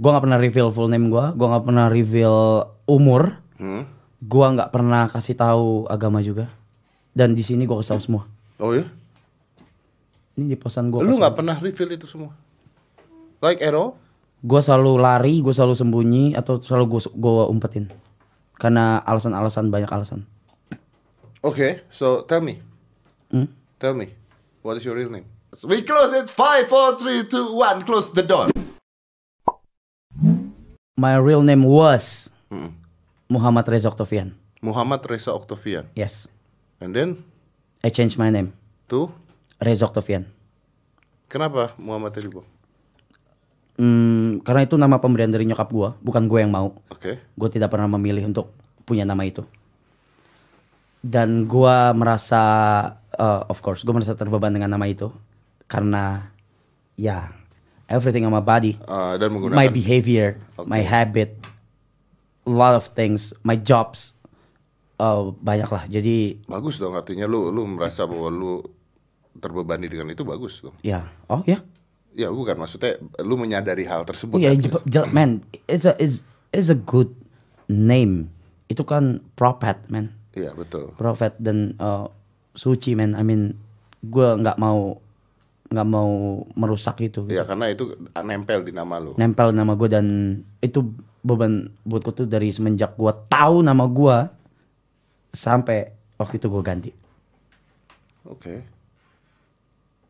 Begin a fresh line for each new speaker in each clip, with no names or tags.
Gue nggak pernah reveal full name gue, gue nggak pernah reveal umur,
Hmm.
gue nggak pernah kasih tahu agama juga. Dan di sini gue kasih tahu semua.
Oh ya?
Ini di pesan gue.
Lu nggak pernah reveal itu semua? Like Ero?
Gue selalu lari, gue selalu sembunyi atau selalu gue gue umpetin. Karena alasan-alasan banyak alasan.
Okay, so tell me.
Hmm?
Tell me. What is your real name? We close it. Five, four, three, two, one. Close the door.
My real name was
Mm.
Muhammad Reza Oktavian.
Muhammad Reza Oktavian.
Yes,
And then
I changed my name.
to
Reza Oktavian.
kenapa Muhammad tadi Bang?
Hmm, karena itu nama pemberian dari nyokap gua, bukan gue yang mau.
Oke.
Gue tidak pernah memilih untuk punya nama itu. Dan gua merasa, uh, of course, gue merasa terbeban dengan nama itu karena, ya, everything on my body,
Ah, dan menggunakan.
my behavior, my habit, a lot of things, my jobs, uh, banyak lah. Jadi,
Bagus dong. Artinya lu lu merasa bahwa lu terbebani dengan itu bagus dong.
ya, oh ya,
Ya bukan maksudnya lu menyadari hal tersebut.
Oh ya,
at
je-
least.
je- man, it's a is is a good name. Itu kan prophet, man.
Iya betul.
Prophet dan uh, suci, man. I mean, gue nggak mau nggak mau merusak itu.
Iya karena itu nempel di nama lu.
Nempel nama gue dan itu beban buat gue tuh dari semenjak gue tahu nama gue sampai waktu itu gue ganti.
Oke.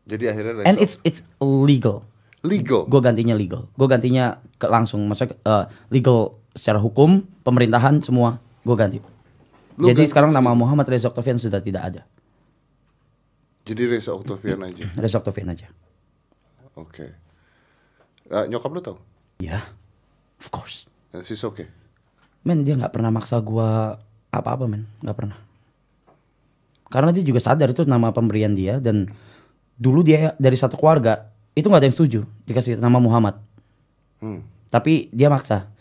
Jadi akhirnya
And it's
Reza-
it's legal.
legal.
Gue gantinya legal. Gue gantinya ke langsung, maksudnya uh, legal secara hukum, pemerintahan semua gue ganti.
Lu
Jadi
ganti
sekarang nama Muhammad Reza Oktavian sudah tidak ada.
Jadi Reza Oktavian aja.
Reza Oktavian aja.
Oke. Eh, nyokap lu tau?
Ya, of course.
Eh, Sis oke.
Men dia nggak pernah maksa gua apa-apa men, nggak pernah. Karena dia juga sadar itu nama pemberian dia dan dulu dia dari satu keluarga itu nggak ada yang setuju dikasih nama Muhammad.
Hmm.
Tapi dia maksa.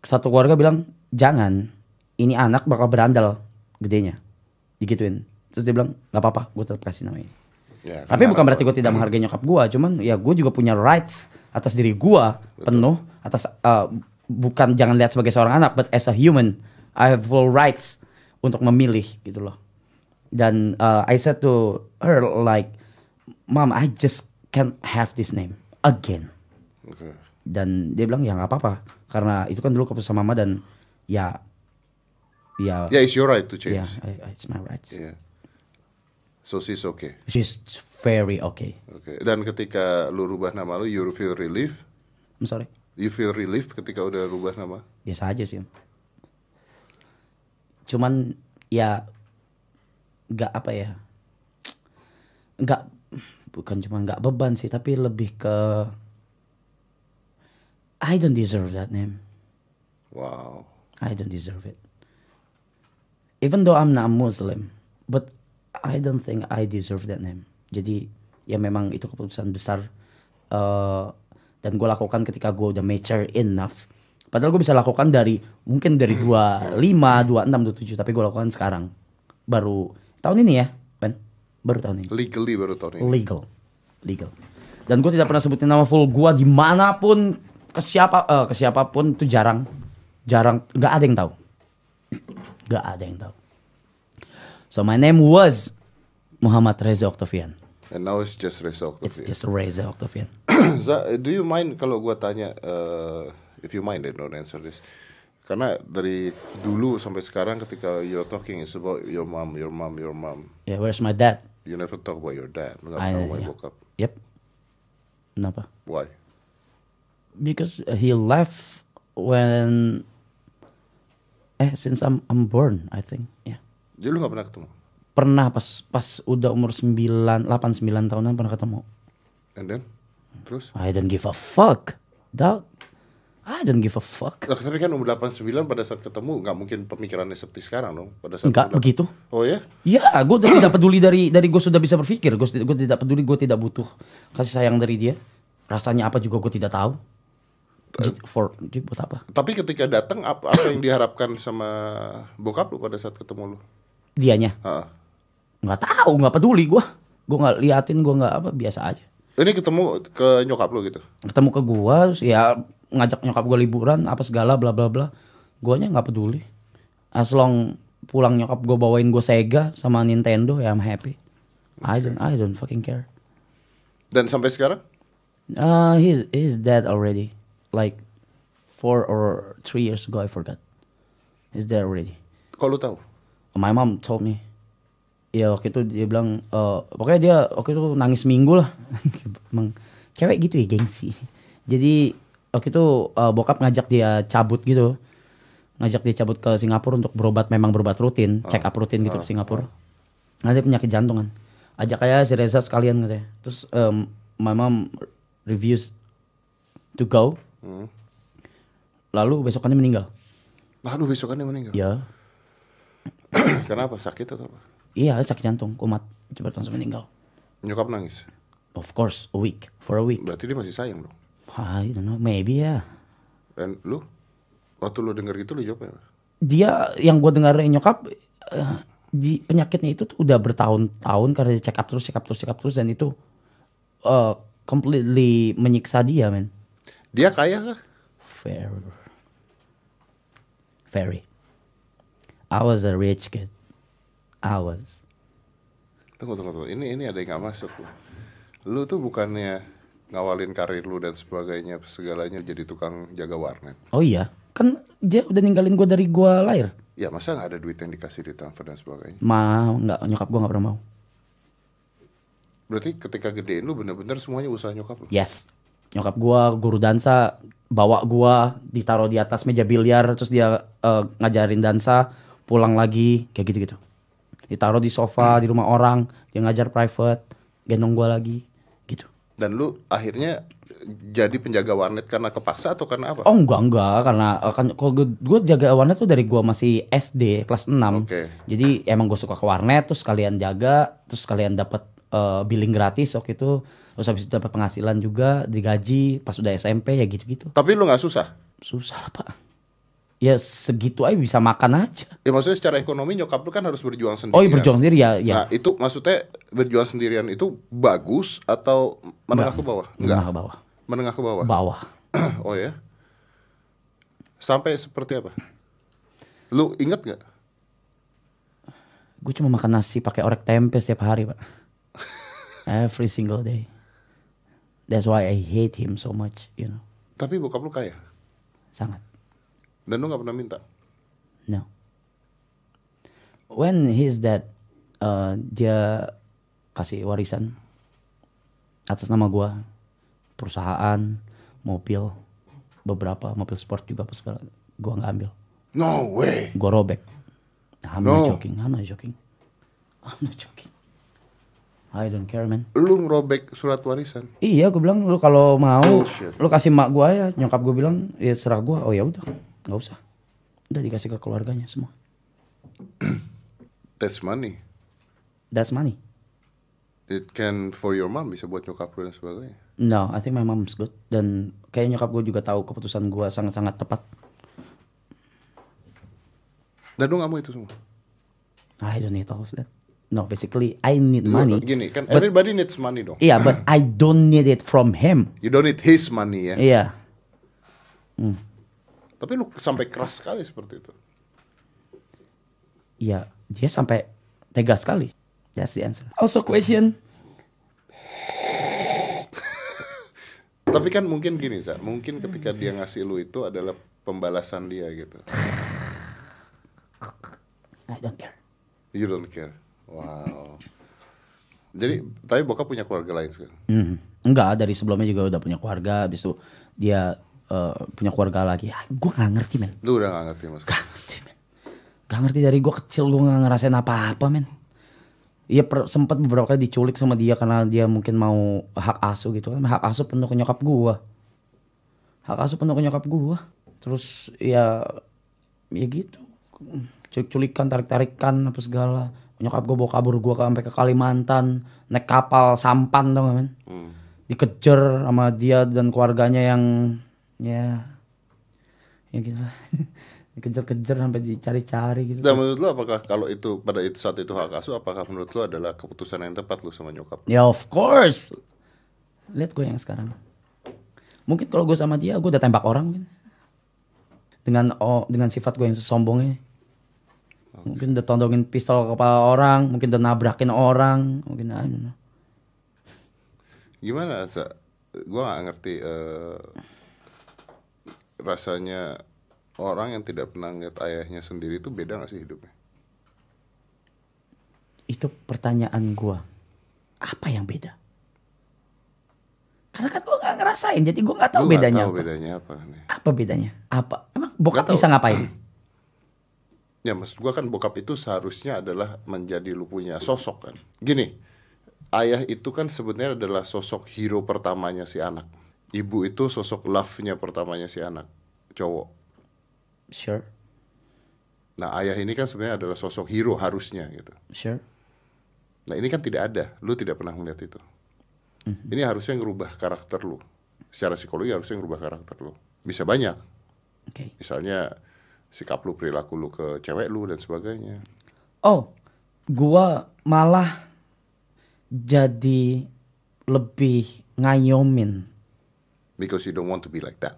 Satu keluarga bilang, jangan. Ini anak bakal berandal gedenya. Digituin. Terus dia bilang, gak apa-apa, gue tetap kasih nama ini.
Ya,
Tapi
karena-
bukan berarti gue tidak menghargai nyokap gue. Cuman ya gue juga punya rights atas diri gue. Penuh. Atas, eh, bukan jangan lihat sebagai seorang anak. But as a human, I have full rights untuk memilih gitu loh. Dan eh, I said to her like, Mom, I just can't have this name again
Oke.
dan dia bilang ya nggak apa-apa karena itu kan dulu keputusan mama dan ya ya
Ya, it's your right to
ya
change.
I- I- it's my rights
Iya. So sis oke.
she's very okay
Oke. Dan ketika lu rubah nama lu, you feel relief.
I'm sorry
You feel relief ketika udah rubah nama.
biasa aja sih Om. cuman ya nggak apa ya nggak bukan cuma nggak beban sih tapi lebih ke I don't deserve that name
Wow.
I don't deserve it. Even though I'm not Muslim, but I don't think I deserve that name. Jadi ya memang itu keputusan besar eh, dan gue lakukan ketika gue udah mature enough. Padahal gue bisa lakukan dari mungkin dari 25, 26, 27 tapi gue lakukan sekarang. Baru tahun ini ya, Ben. Baru tahun ini.
Legally baru tahun ini.
Legal. Legal. Dan gue tidak pernah sebutin nama full gue dimanapun ke siapa eh, ke siapapun itu jarang jarang nggak ada yang tahu nggak ada yang tahu so my name was Muhammad Reza Oktavian
And now it's just Reza
it's
Oktavian.
just Reza Oktavian
Za, eh, do you mind kalau gua tanya, eh, if you mind, eh, don't answer this. Karena dari dulu sampai sekarang ketika you're talking is about your mom, your mom, your mom.
yeah where's my dad
You never talk about your dad. Lu
I-
nggak pernah
yeah.
bokap.
yep kenapa
Why?
because he left when eh since I'm I'm born I think yeah
Jadi lu gak pernah ketemu.
pernah pas pas udah umur 9 8 9 tahunan pernah ketemu.
And then? Terus?
I don't give a fuck, dog. I don't give a fuck.
Lah, tapi kan umur 89 pada saat ketemu nggak mungkin pemikirannya seperti sekarang dong. Pada saat
Enggak
umur
begitu.
delapan- Oh ya?
Ya, gue tidak peduli dari dari gue sudah bisa berpikir. Gue tidak peduli, gue tidak butuh kasih sayang dari dia. Rasanya apa juga gue tidak tahu. Jadi For jadi buat apa?
Tapi ketika datang apa, apa yang diharapkan sama bokap lu pada saat ketemu lu?
Dianya
Ha.
nggak tahu, nggak peduli gue. Gue nggak liatin, gue nggak apa biasa aja.
Ini ketemu ke nyokap lu gitu.
ketemu ke gua terus ya ngajak nyokap gua liburan apa segala bla bla bla guanya nggak peduli as long pulang nyokap gua bawain gua Sega sama Nintendo ya I'm happy I don't I don't fucking care
Dan sampai sekarang?
uh, he's he's dead already like four or three years ago I forgot he's dead already
Kok lu tahu?
my mom told me ya waktu itu dia bilang eh, pokoknya dia waktu itu nangis minggu lah emang cewek gitu ya gengsi jadi waktu itu eh, bokap ngajak dia cabut gitu ngajak dia cabut ke Singapura untuk berobat memang berobat rutin check up rutin gitu ke Singapura nah dia penyakit jantung kan ajak aja si Reza sekalian katanya terus em, my mom reviews to go
Hmm.
lalu besokannya meninggal
Aduh besokannya meninggal.
ya
Kenapa? Sakit atau apa?
iya sakit jantung kumat cepat langsung meninggal
Nyokap nangis.
Of course, a week for a week.
Berarti dia masih sayang dong.
I don't know, maybe ya.
Dan lu? Waktu lu denger gitu lu jawab apa?
Dia yang gue dengar dari nyokap eh, di penyakitnya itu tuh udah bertahun-tahun karena dia check up terus, check up terus, check up terus dan itu eh, completely menyiksa dia, men.
Dia kaya kah?
Fair. Very. I was a rich kid. I was.
Tunggu, tunggu, tunggu. Ini ini ada yang gak masuk. Lu, lu tuh bukannya ngawalin karir lu dan sebagainya segalanya jadi tukang jaga warnet.
Oh iya, kan dia udah ninggalin gue dari gue lahir.
Ya masa nggak ada duit yang dikasih di transfer dan sebagainya.
Ma, nggak nyokap gue nggak pernah mau.
Berarti ketika gedein lu bener-bener semuanya usaha nyokap lu.
Yes. Nyokap gua guru dansa bawa gua ditaruh di atas meja biliar terus dia eh, ngajarin dansa, pulang lagi kayak gitu-gitu. Ditaruh di sofa di rumah orang, dia ngajar private, gendong gua lagi gitu.
Dan lu akhirnya jadi penjaga warnet karena kepaksa atau karena apa?
Oh enggak enggak karena eh, kan kalau gua, gua jaga warnet tuh dari gua masih SD kelas 6.
Oke.
Jadi emang gua suka ke warnet terus kalian jaga, terus kalian dapat eh, billing gratis waktu itu, terus habis itu dapat penghasilan juga, digaji pas udah SMP ya gitu-gitu.
Tapi lu nggak susah.
susah lah pak ya segitu aja bisa makan aja
Ya maksudnya secara ekonomi nyokap lu kan harus berjuang sendiri.
oh iya berjuang sendiri ya ya
Nah itu maksudnya berjuang sendirian itu bagus atau menengah ke bawah?
menengah
Enggak.
ke bawah
Menengah ke bawah.
bawah
oh ya. Sampai seperti apa? Lu inget nggak?
gue cuma makan nasi pakai orek tempe setiap hari pak every single day that's why I hate him so much you know
Tapi bokap lu kaya
sangat
dan lu nggak pernah minta.
no when he's dead uh, dia kasih warisan atas nama gua perusahaan mobil beberapa mobil sport juga apa segala gue nggak ambil
No way.
gue robek. I'm not
No.
joking, I'm not joking. I'm not joking. I don't care man.
Lu ngerobek surat warisan.
Iya, gue bilang lu kalau mau,
Bullshit.
lu kasih mak gue ya. Nyokap gue bilang, ya serah gue. Oh ya udah, nggak usah. Udah dikasih ke keluarganya semua.
That's money.
That's money.
It can for your mom bisa buat nyokap lu dan sebagainya.
No, I think my mom's good. Dan kayak nyokap gue juga tahu keputusan gue sangat-sangat tepat.
Dan lu nggak mau itu semua.
I don't need all of that. No, basically I need
Lu-
money.
Gini kan
But-
everybody needs money dong.
Iya, but I don't need it from him.
You don't need his money ya.
Iya.
Tapi lu sampai keras sekali seperti itu.
Iya, dia sampai tega sekali. That's the answer. Also question.
Tapi kan mungkin gini, Sa. Mungkin ketika dia ngasih lu itu adalah pembalasan dia gitu.
I don't care.
You don't care. Wow. Jadi, tapi bokap punya keluarga lain sekarang.
Hmm. Enggak, dari sebelumnya juga udah punya keluarga, habis itu dia eh, punya keluarga lagi. Ah, gua nggak ngerti, men.
Lu udah gak ngerti mas.
Gak ngerti, men. Gak ngerti dari gua kecil gua nggak ngerasain apa-apa, men. Iya per- sempat beberapa kali diculik sama dia karena dia mungkin mau hak asuh gitu kan. Hak asuh penuh ke nyokap gua. Hak asuh penuh ke nyokap gua. Terus ya ya gitu. Culik-culikan, tarik-tarikan apa segala. Nyokap gua bawa kabur gua ke- sampai ke Kalimantan, naik kapal sampan tau gak, men.
Hmm.
Dikejar sama dia dan keluarganya yang ya ya gitu lah. Dikejar-kejar sampai dicari-cari gitu.
Dan menurut lu apakah kalau itu pada itu saat itu hak asuh, apakah menurut lu adalah keputusan yang tepat lu sama nyokap?
Ya of Ya, course. Lihat gue yang sekarang. Mungkin kalau gue sama dia, gue udah tembak orang mungkin. Dengan oh, dengan sifat gue yang sombongnya. Mungkin udah tondongin pistol ke kepala orang, mungkin udah nabrakin orang, mungkin I don't know.
Gimana Sa? Gua nggak ngerti eh, rasanya orang yang tidak pernah ngeliat ayahnya sendiri itu beda nggak sih hidupnya?
Itu pertanyaan gue. Apa yang beda? Karena kan gue gak ngerasain, jadi gue gak tahu
Gua
Oh,
nggak
bedanya.
tahu
apa.
bedanya apa nih?
Apa bedanya? Apa? Emang bokap
Nggak tahu.
bisa ngapain?
Ya maksud gua kan bokap itu seharusnya adalah menjadi lu punya sosok kan. Gini, ayah itu kan sebenarnya adalah sosok hero pertamanya si anak. Ibu itu sosok love-nya pertamanya si anak cowok.
Sure,
Nah ayah ini kan sebenarnya adalah sosok hero harusnya gitu.
sure.
Nah ini kan tidak ada, lu tidak pernah melihat itu. Ini harusnya ngerubah karakter lu. Secara psikologi harusnya ngerubah karakter lu. Bisa banyak,
Oke.
misalnya sikap lu, perilaku lu ke cewek lu dan sebagainya.
Oh, gua malah jadi lebih ngayomin
Because you don't want to be like that.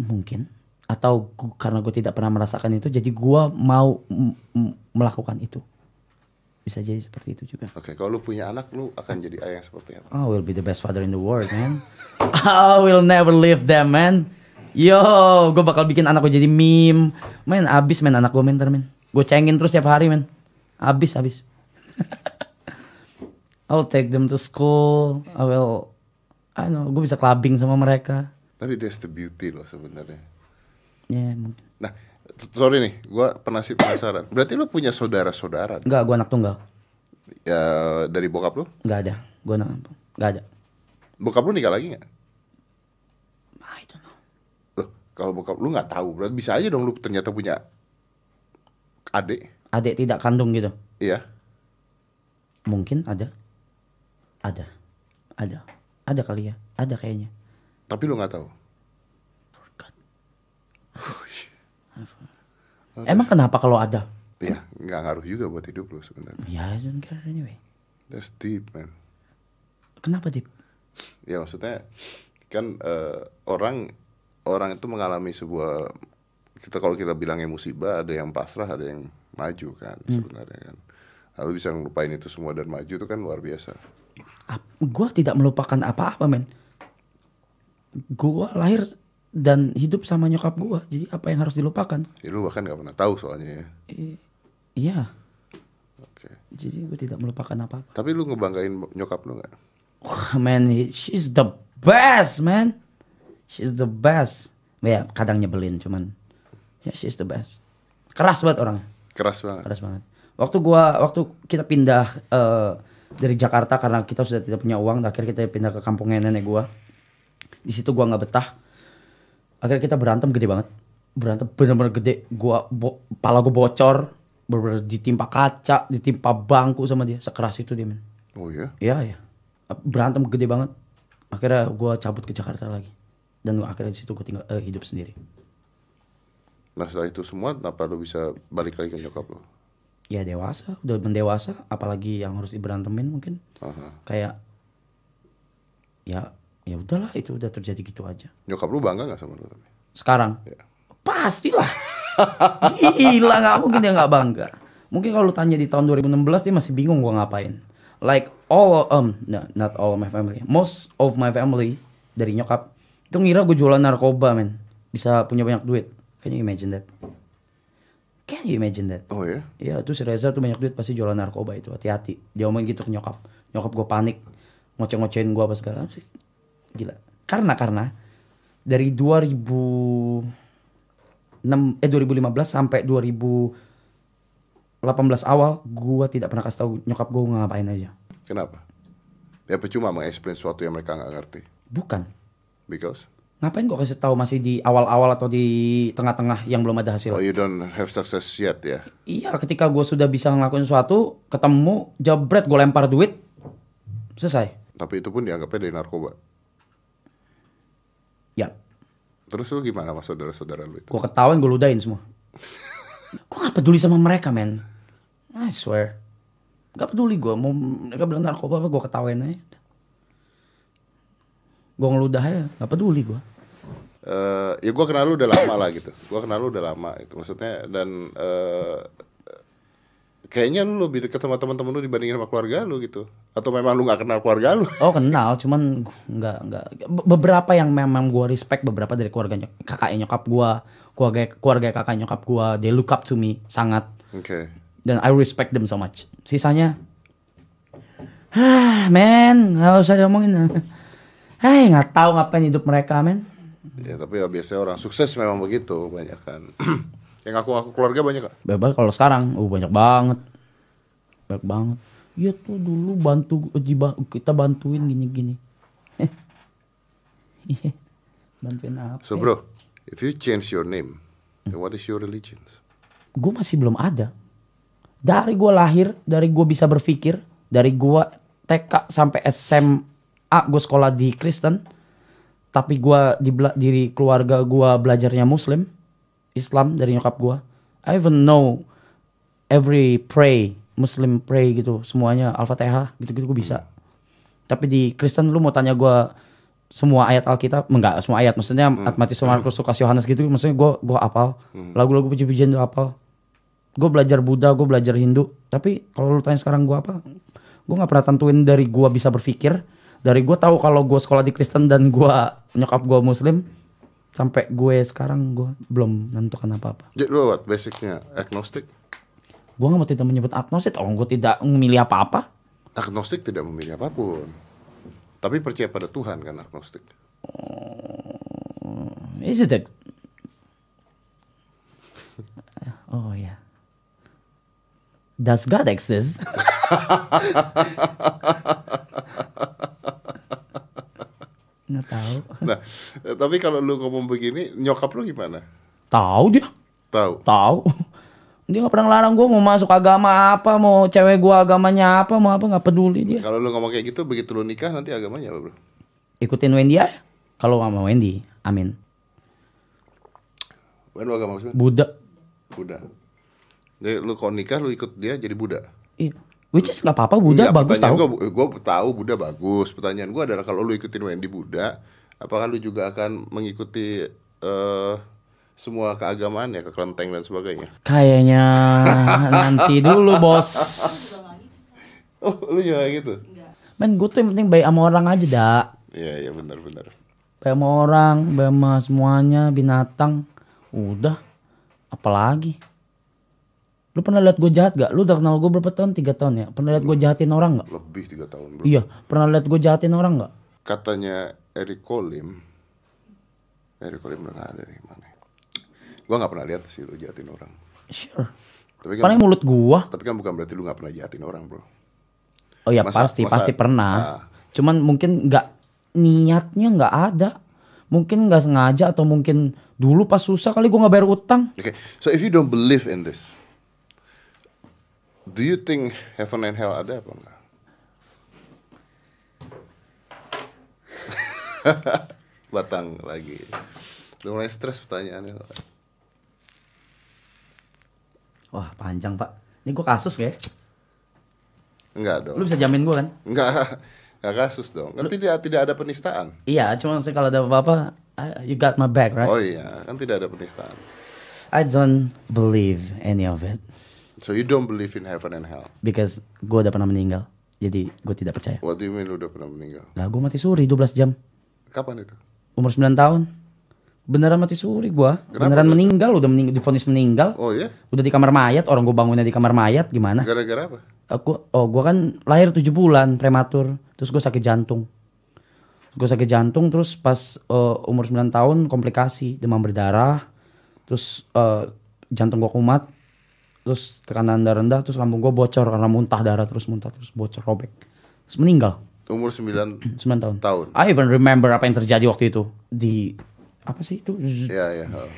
mungkin atau gu- karena gue tidak pernah merasakan itu jadi gua mau m- m- melakukan itu bisa jadi seperti itu juga
Oke, kalau lu punya anak, lu akan jadi ayah yang seperti apa?
I will Oh, be the best father in the world man I will never leave them man yo gue bakal bikin anak gue jadi meme men abis men anak gue men ntar, men gue cengin terus tiap hari men abis abis I'll take them to school I will I don't know gue bisa clubbing sama mereka
Tapi that's the beauty loh sebenarnya.
ya mungkin
Nah, t- sorry nih, gua penasib penasaran. Berarti lu punya saudara-saudara
enggak gue anak tunggal
ya, dari bokap lu?
enggak ada gue anak enggak ada
Bokap lu nikah lagi nggak?
I don't know.
Loh, kalau bokap lu nggak tahu, berarti bisa aja dong lu ternyata punya adik.
Adik tidak kandung gitu.
Iya.
Mungkin ada. Ada. Ada. Ada kali ya. Ada kayaknya.
Tapi lu nggak tahu.
Forgot. Emang kenapa kalau ada?
Iya, nggak ngaruh juga buat hidup lu sebenarnya.
Ya, I don't care anyway.
That's deep, man.
Kenapa, Dip?
Ya maksudnya kan eh, orang orang itu mengalami sebuah kita kalau kita bilangnya musibah ada yang pasrah ada yang maju kan sebenarnya kan. Lalu bisa ngelupain itu semua dan maju itu kan luar biasa.
Ap- Gua tidak melupakan apa-apa, men. Gua lahir dan hidup sama nyokap gua. Jadi apa yang harus dilupakan?
Ya, lu bahkan nggak pernah tahu soalnya ya.
I- Iya.
Oke.
Jadi gue tidak melupakan apa-apa.
Tapi lu ngebanggain nyokap lu nggak?
Wah, man, he- she's the best, man. She's the best. Ya, kadang nyebelin, cuman ya she's the best. Keras banget orangnya,
Keras banget.
keras banget. Waktu gua, waktu kita pindah eh, dari Jakarta karena kita sudah tidak punya uang, akhirnya kita pindah ke kampungnya nenek gua. Di situ gua nggak betah. Akhirnya kita berantem gede banget, berantem bener-bener gede. Gua, bo, pala gua bocor, bener-bener ditimpa kaca, ditimpa bangku sama dia. Sekeras itu dia, men.
Oh ya.
Iya ya. Berantem gede banget. Akhirnya gua cabut ke Jakarta lagi. Dan akhirnya di situ gue tinggal eh, hidup sendiri.
Nah setelah itu semua, kenapa lu bisa balik lagi ke nyokap lu?
Ya dewasa, udah mendewasa, apalagi yang harus diberantemin mungkin.
Aha.
Kayak ya ya udahlah itu udah terjadi gitu aja.
Nyokap lu bangga nggak sama lu tapi?
Sekarang
Ya.
pastilah. Gila nggak mungkin dia nggak bangga. Mungkin kalau lu tanya di tahun 2016 dia masih bingung gua ngapain. Like all um no, not all of my family. Most of my family dari nyokap itu ngira gue jualan narkoba men. Bisa punya banyak duit. Can you imagine that? Can you imagine that?
Oh ya.
Iya tuh si Reza tuh banyak duit pasti jualan narkoba itu hati-hati. Dia omongin gitu ke nyokap. Nyokap gue panik, ngoceh-ngocehin gue apa segala. Gila. Karena karena dari 2006 eh 2015 sampai 2018 awal gue tidak pernah kasih tahu nyokap gue ngapain aja.
Kenapa? Ya percuma mengeksplain sesuatu yang mereka nggak ngerti.
Bukan.
Because
Ngapain gue kasih tahu masih di awal-awal atau di tengah-tengah yang belum ada hasil?
Oh, you don't have success yet ya.
Iya, ketika gue sudah bisa ngelakuin sesuatu, ketemu, jebret, gue lempar duit, selesai.
Tapi itu pun dianggapnya dari narkoba.
Ya,
Terus lu gimana sama saudara-saudara lu itu?
Gue ketawain, gue ludahin semua. gue gak peduli sama mereka, men. I swear. Gak peduli gue. Mau mereka bilang narkoba apa, gue ketawain aja. Gue ngeludah aja, gak peduli gue.
eh ya gue kenal lu udah lama lah gitu gue kenal lu udah lama itu maksudnya dan eh kayaknya lu lebih deket sama teman-teman lu dibandingin sama keluarga lu gitu atau memang lu nggak kenal keluarga lu
Oh kenal, cuman gu- nggak nggak be- beberapa yang memang gue respect beberapa dari keluarga nyok- kakak nyokap gue, keluarga keluarga kakak nyokap gue, they look up to me sangat
oke
dan I respect them so much. Sisanya, ah men nggak usah diomongin. Hai nggak tahu ngapain hidup mereka men.
ya tapi ya biasanya orang sukses memang begitu banyak kan yang aku aku keluarga banyak Kak.
Bebas kalau sekarang, uh banyak banget, banyak banget. Iya tuh dulu bantu diba- kita bantuin gini-gini. Iya. bantuin apa?
so bro if you change your name then what is your religion
gue masih belum ada. Dari gue lahir, dari gue bisa berpikir, dari gue TK sampai SMA gue sekolah di Kristen, tapi gue di bela- diri keluarga gue belajarnya Muslim, Islam dari nyokap gue. I even know every pray Muslim pray gitu semuanya Al-Fatihah gitu-gitu gue bisa. Tapi di Kristen lu mau tanya gue semua ayat Alkitab enggak semua ayat maksudnya Matius Markus Lukas Yohanes gitu maksudnya gue gue apal lagu-lagu puji-pujian gue apal gue belajar Buddha gue belajar Hindu tapi kalau lu tanya sekarang gue apa gue nggak pernah tentuin dari gue bisa berpikir dari gue tahu kalau gue sekolah di Kristen dan gue nyokap gue Muslim sampai gue sekarang gue belum menentukan apa-apa
jadi lu what basicnya agnostik
gue nggak mau tidak menyebut agnostik orang gue tidak memilih apa-apa
agnostik tidak memilih apapun tapi percaya pada Tuhan kan agnostik
is it ag- oh ya does God exist nggak tahu
nah eh, tapi kalau lu ngomong begini nyokap lu gimana
tahu dia
tahu
tahu dia nggak pernah ngelarang gue mau masuk agama apa mau cewek gue agamanya apa mau apa nggak peduli dia
Kalau lu ngomong kayak gitu, begitu lu nikah nanti agamanya apa bro?
ikutin Wendy aja kalau sama Wendy amin
Bukan lu agama apa sih?
Buddha
Buddha. Jadi lu kalau nikah lu ikut dia jadi Buddha.
Iya. Which is nggak apa-apa Buddha
Enggak,
bagus
pertanyaan
tau.
Iya, Gua, gua tahu Buddha bagus. Pertanyaan gua adalah kalau lu ikutin Wendy Buddha, apakah lu juga akan mengikuti eh semua keagamaan ya, kekelenteng dan sebagainya?
Kayaknya nanti dulu bos.
Oh, lu juga kayak gitu?
Men gue tuh yang penting baik sama orang aja dak.
Iya, iya benar-benar.
Baik sama orang, baik sama semuanya, binatang. Udah. Apalagi. Lu pernah lihat gue jahat gak? Lu udah kenal gue berapa tahun? Tiga tahun ya. Pernah lihat gue jahatin orang gak?
Lebih tiga tahun bro.
Iya. Pernah lihat gue jahatin orang gak?
katanya Eric Kolim Eric Kolim udah nggak ada nih mana ya? gua nggak pernah lihat sih lu jahatin orang
Sure.
tapi kan
Paling mulut gua.
tapi kan bukan berarti lu nggak pernah jahatin orang bro
Oh ya
Masa-
pasti
masa-
pasti pernah.
Ah.
Cuman mungkin nggak niatnya nggak ada. Mungkin nggak sengaja atau mungkin dulu pas susah kali gua nggak bayar utang.
okay so if you don't believe in this do you think heaven and hell ada apa enggak batang lagi lu mulai stres pertanyaannya
Wah panjang pak. Ini gua kasus kayak.
enggak dong
Lu bisa jamin gua kan?
enggak enggak kasus dong kan tidak tidak ada penistaan
Iya. Cuman sih kalau ada apa-apa, I- you got my back right?
Oh iya, kan tidak ada penistaan.
I don't believe any of it
So you don't believe in heaven and hell.
because gua udah pernah meninggal. Jadi gua tidak percaya.
What do you mean lu udah pernah meninggal?
Lah gua mati suri 12 jam.
Kapan itu?
Umur 9 tahun. Beneran mati suri gua. Beneran meninggal. Udah meninggal. Difonis meninggal.
Oh iya,
Udah di kamar mayat. Orang gua bangunnya di kamar mayat. Gimana?
gara-gara apa?
aku oh gue kan lahir 7 bulan prematur terus gue sakit jantung gue sakit jantung terus pas eh, umur 9 tahun komplikasi demam berdarah terus eh, jantung gue kumat terus tekanan darah rendah terus lambung gue bocor karena muntah darah terus muntah terus bocor robek terus meninggal
Umur
9
9
tahun
tahun.
I even remember apa yang terjadi waktu itu di apa sih itu Zzz,
Iya, iya. oh.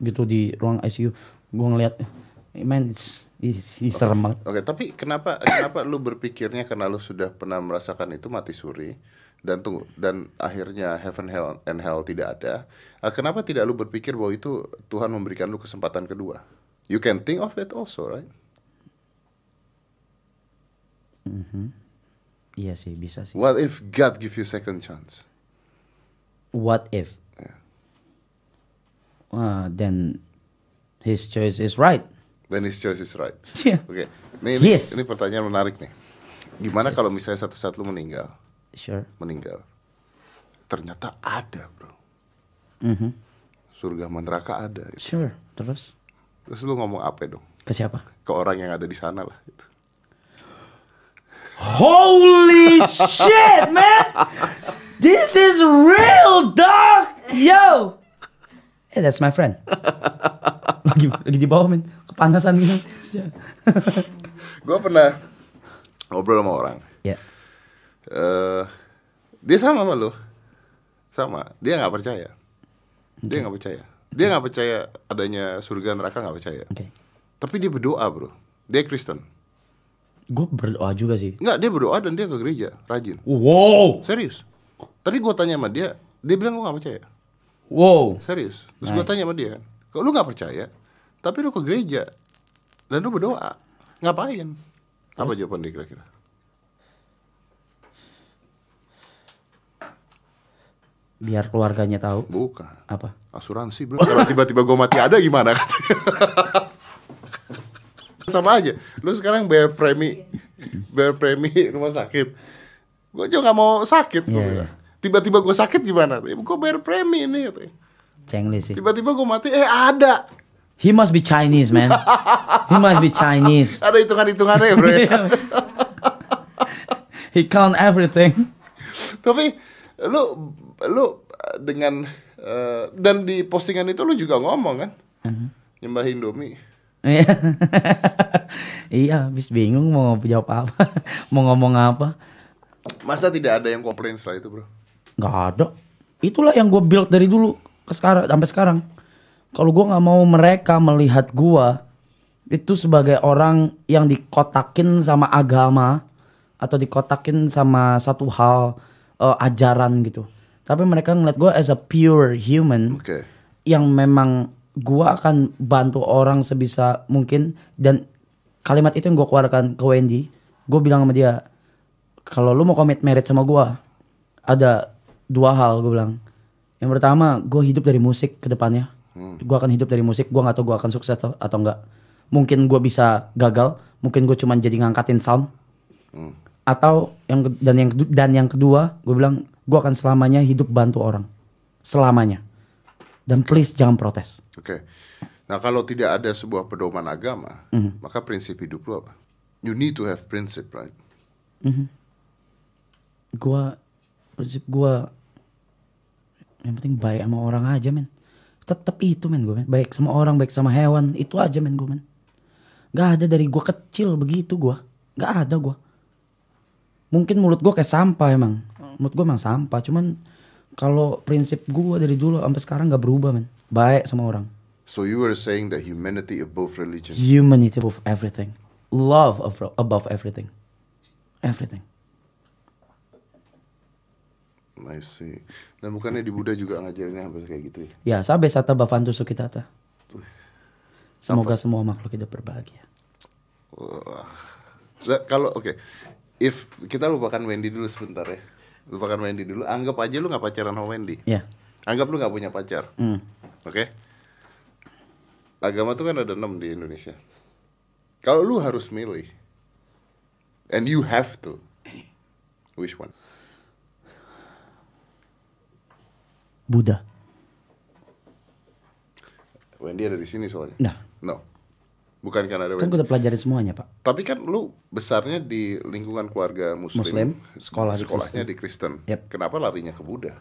gitu di ruang ICU gue ngeliat eh, man it's, it's, it's serem banget
Oke, tapi kenapa kenapa lu berpikirnya karena lu sudah pernah merasakan itu mati suri dan tunggu dan akhirnya heaven hell and hell tidak ada. Ah, Kenapa tidak lu berpikir bahwa itu Tuhan memberikan lu kesempatan kedua? You can think of it also, right?
iya sih bisa sih Iya
What if God give you second chance?
what if? Uh, then his choice is right.
Then his choice is right.
Yeah.
Oke, ini ini,
Yes.
ini pertanyaan menarik nih. Gimana kalau misalnya satu saat lu meninggal,
Sure.
meninggal, ternyata ada bro,
Mhm.
surga sama neraka ada. gitu.
Sure. Terus
Terus lu ngomong apa dong?
ke siapa?
Ke orang yang ada di sana lah. Gitu.
Holy shit, man! This is real, dog. Yo. Hey, that's my friend. lagi, lagi di bawah, men. Kepanasan gitu.
Gue pernah ngobrol sama orang.
ya.
eh dia sama sama lu, sama. Dia nggak percaya. Dia nggak percaya. Dia nggak percaya adanya surga neraka nggak percaya.
Oke.
Tapi dia berdoa bro. Dia Kristen.
Gue berdoa juga sih.
Nggak, dia berdoa dan dia ke gereja, rajin.
Wow.
Serius. Tapi gua tanya sama dia, dia bilang gua nggak percaya.
Wow.
Serius. Terus gua tanya sama dia, kok lu nggak percaya? Tapi lu ke gereja dan lu berdoa, ngapain? Apa jawaban dia kira-kira?
Biar keluarganya tahu
Bukan.
apa?
Asuransi bro. Kalau tiba-tiba gua mati ada gimana? Sama aja. Lu sekarang bayar premi, bayar premi rumah sakit. Gua juga nggak mau sakit. gua
Iya,
bilang. Tiba-tiba gua sakit gimana? Gua bayar premi ini. katanya.
Cengli sih.
Tiba-tiba gua mati, eh ada.
He must be Chinese, man. He must be Chinese.
Ada hitungan-hitungannya bro. ya.
He count everything.
Tapi lu lu eh, dengan eh, dan di postingan itu lu juga ngomong kan? Nyembah Indomie.
Iya. iya, habis bingung mau jawab apa, mau ngomong apa.
Masa tidak ada yang komplain setelah itu, Bro?
Nggak ada. Itulah yang gue build dari dulu ke sekarang sampai sekarang. Kalau gue nggak mau mereka melihat gue itu sebagai orang yang dikotakin sama agama atau dikotakin sama satu hal eh, ajaran gitu. Tapi mereka ngeliat gue as a pure human
Oke.
yang memang gua akan bantu orang sebisa mungkin dan kalimat itu yang gua keluarkan ke Wendy gue bilang sama dia kalau lu mau commit marriage sama gua ada dua hal gue bilang yang pertama gue hidup dari musik ke depannya gua akan hidup dari musik gua nggak tahu gua akan sukses atau, atau enggak mungkin gua bisa gagal mungkin gue cuman jadi ngangkatin sound atau yang ke- dan yang kedu- dan yang kedua gue bilang gue akan selamanya hidup bantu orang selamanya dan please jangan protes
Oke. Nah, kalau tidak ada sebuah pedoman agama, maka prinsip hidup lu apa? You need to have principle, right?
gue prinsip gue yang penting baik sama orang aja men tetap itu men gue men baik sama orang baik sama hewan itu aja men gue men gak ada dari gue kecil begitu gue gak ada gue mungkin mulut gue kayak sampah emang mulut gue emang sampah cuman kalau prinsip gue dari dulu sampai sekarang gak berubah men baik sama orang
So you were saying that humanity above religion.
humanity above everything love of- above everything everything
I see. Dan bukannya di Buddha juga ngajarinnya hampir kayak gitu ya?
ya sabe sata bavantu sukitata semoga semua makhluk hidup berbahagia
Wah. Nah, kalau oke, if kita lupakan Wendy dulu sebentar ya, lupakan Wendy dulu. Anggap aja lu nggak pacaran sama Wendy.
ya
Anggap lu nggak punya pacar, oke? Agama tuh kan ada enam di Indonesia. Kalau lu harus milih, and you have to, which one?
Buddha
Wendy ada di sini soalnya.
Nah.
No, bukan karena ada
kan
Wendy.
gue udah pelajarin semuanya pak
Tapi kan lu besarnya di lingkungan keluarga Muslim,
Muslim, sekolah di
sekolahnya
Kristen.
di Kristen.
Yep.
Kenapa larinya ke Buddha?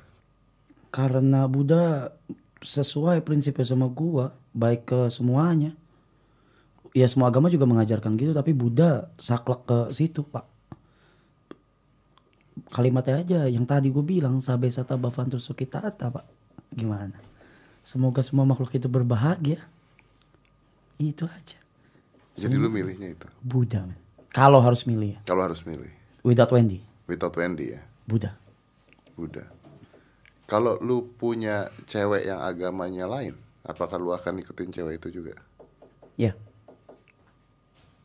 karena Buddha sesuai prinsipnya sama gua baik ke semuanya ya semua agama juga mengajarkan gitu tapi Buddha saklek ke situ pak kalimatnya aja yang tadi gue bilang sabe sata bavantu sukitata pak gimana semoga semua makhluk itu berbahagia itu aja
Jadi lu milihnya itu.
Buddha men. kalau harus milih ya.
Kalau harus milih,
without Wendy
without Wendy ya,
Buddha
Buddha. Kalau lu punya cewek yang agamanya lain, apakah lu akan ikutin cewek itu juga?
ya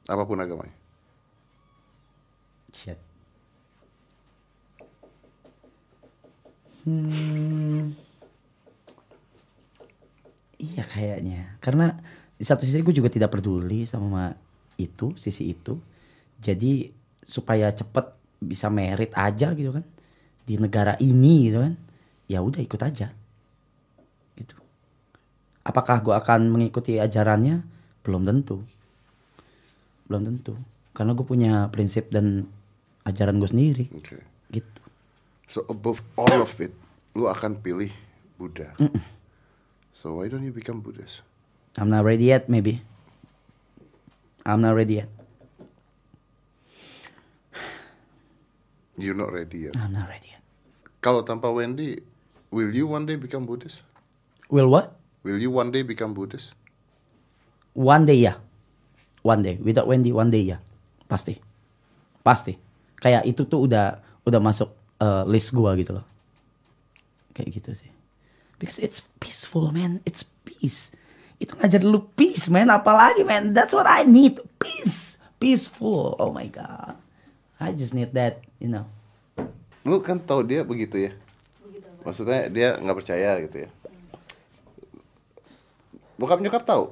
Apapun agamanya.
Shit. Hmm, iya kayaknya. Karena di satu sisi gue juga tidak peduli sama itu, sisi itu. Jadi supaya cepet bisa merit aja gitu kan di negara ini gitu kan. Ya udah ikut aja. Gitu. Apakah gue akan mengikuti ajarannya? Belum tentu. Belum tentu. Karena gue punya prinsip dan ajaran gue sendiri
Oke.
gitu.
So above all of it, lu akan pilih Buddha. So why don't you become Buddhist?
I'm not ready yet, maybe. I'm not ready yet.
You're not ready yet.
I'm not ready yet.
Kalau tanpa Wendy, will you one day become Buddhist?
Will what?
Will you one day become Buddhist?
One day ya. One day. Without Wendy, one day ya. Pasti. Pasti. Kayak itu tuh udah udah masuk uh, list gua gitu loh. Kayak gitu sih. Because it's peaceful, man. It's peace. Itu ngajar lu peace, man. Apalagi, man. That's what I need. Peace. Peaceful. Oh my God. I just need that, you know.
Lu kan tahu dia begitu ya. Maksudnya dia nggak percaya gitu ya. Bokap nyokap tahu.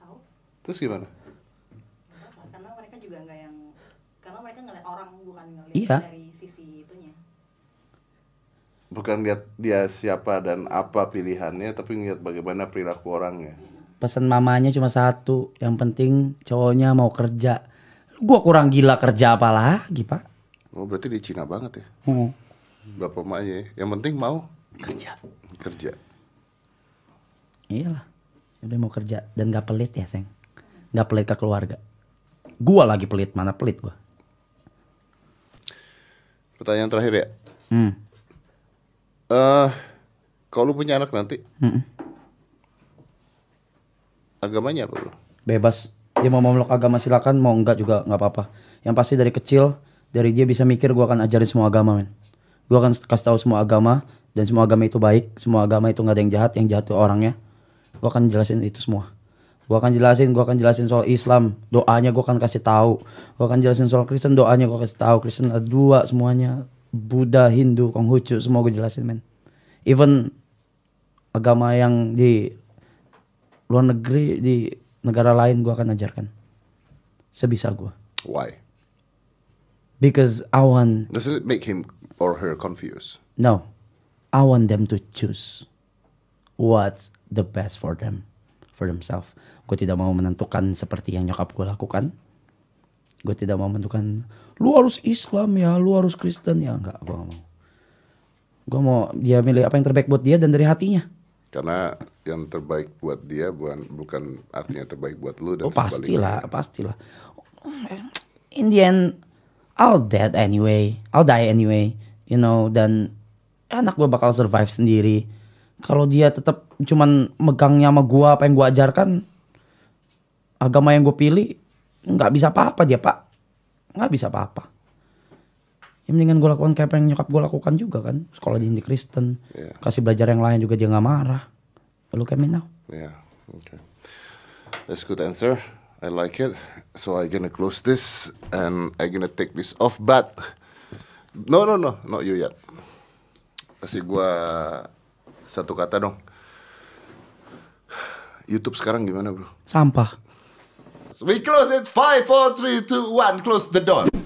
tahu
Terus gimana?
nggak apa-apa. karena mereka juga nggak yang karena mereka ngeliat orang bukan ngeliat
Iya.
dari sisi itunya
Bukan lihat dia siapa dan apa pilihannya, tapi ngeliat bagaimana perilaku orangnya.
pesan mamanya cuma satu yang penting cowoknya mau kerja gua kurang gila kerja apa lagi pak
Oh berarti dia Cina banget ya,
Hmm.
bapak emaknya. ya. Yang penting mau
kerja
kerja.
iyalah yang penting mau kerja dan gak pelit ya seng gak pelit ke keluarga gua lagi pelit mana pelit gua
Pertanyaan terakhir ya.
hmm.
Eh, kalau lu punya anak nanti,
Mm-mm.
agamanya apa bro?
bebas dia mau memeluk agama silakan mau enggak juga nggak apa-apa yang pasti dari kecil dari dia bisa mikir gua akan ajarin semua agama men gua akan kasih tahu semua agama dan semua agama itu baik semua agama itu nggak ada yang jahat yang jahat itu orangnya gua akan jelasin itu semua gua akan jelasin gua akan jelasin soal Islam doanya gua akan kasih tahu gua akan jelasin soal Kristen doanya gua kasih tahu Kristen ada dua semuanya Buddha Hindu Konghucu semua gua jelasin men even agama yang di luar negeri di negara lain gua akan ajarkan sebisa gua
Why?
because I want
Doesn't it make him or her confused?
no I want them to choose what's the best for them for themselves gue tidak mau menentukan seperti yang nyokap gue lakukan gue tidak mau menentukan lu harus Islam ya lu harus Kristen ya enggak gue mau gue mau dia milih apa yang terbaik buat dia dan dari hatinya
Karena yang terbaik buat dia bukan bukan artinya terbaik buat lu
Oh
dan
pastilah, pastilah. In the end, I'll dead anyway. I'll die anyway. You know, dan anak gue bakal survive sendiri. Kalau dia tetap cuman megangnya sama gue, apa yang gue ajarkan, agama yang gue pilih, nggak bisa apa-apa dia pak. Nggak bisa apa-apa. Ya mendingan gue lakukan kayak apa yang nyokap gue lakukan juga kan. Sekolah di Hindu Kristen.
Iya.
Kasih belajar yang lain juga dia nggak marah. Lu kayak now.
Yeah. Ya, Okay. That's good answer. I like it. So I'm gonna close this and I'm gonna take this off. But no, no, no, not you yet. Kasih gua satu kata dong. YouTube sekarang gimana bro?
Sampah.
So we close it. Five, four, three, two, one. Close the door.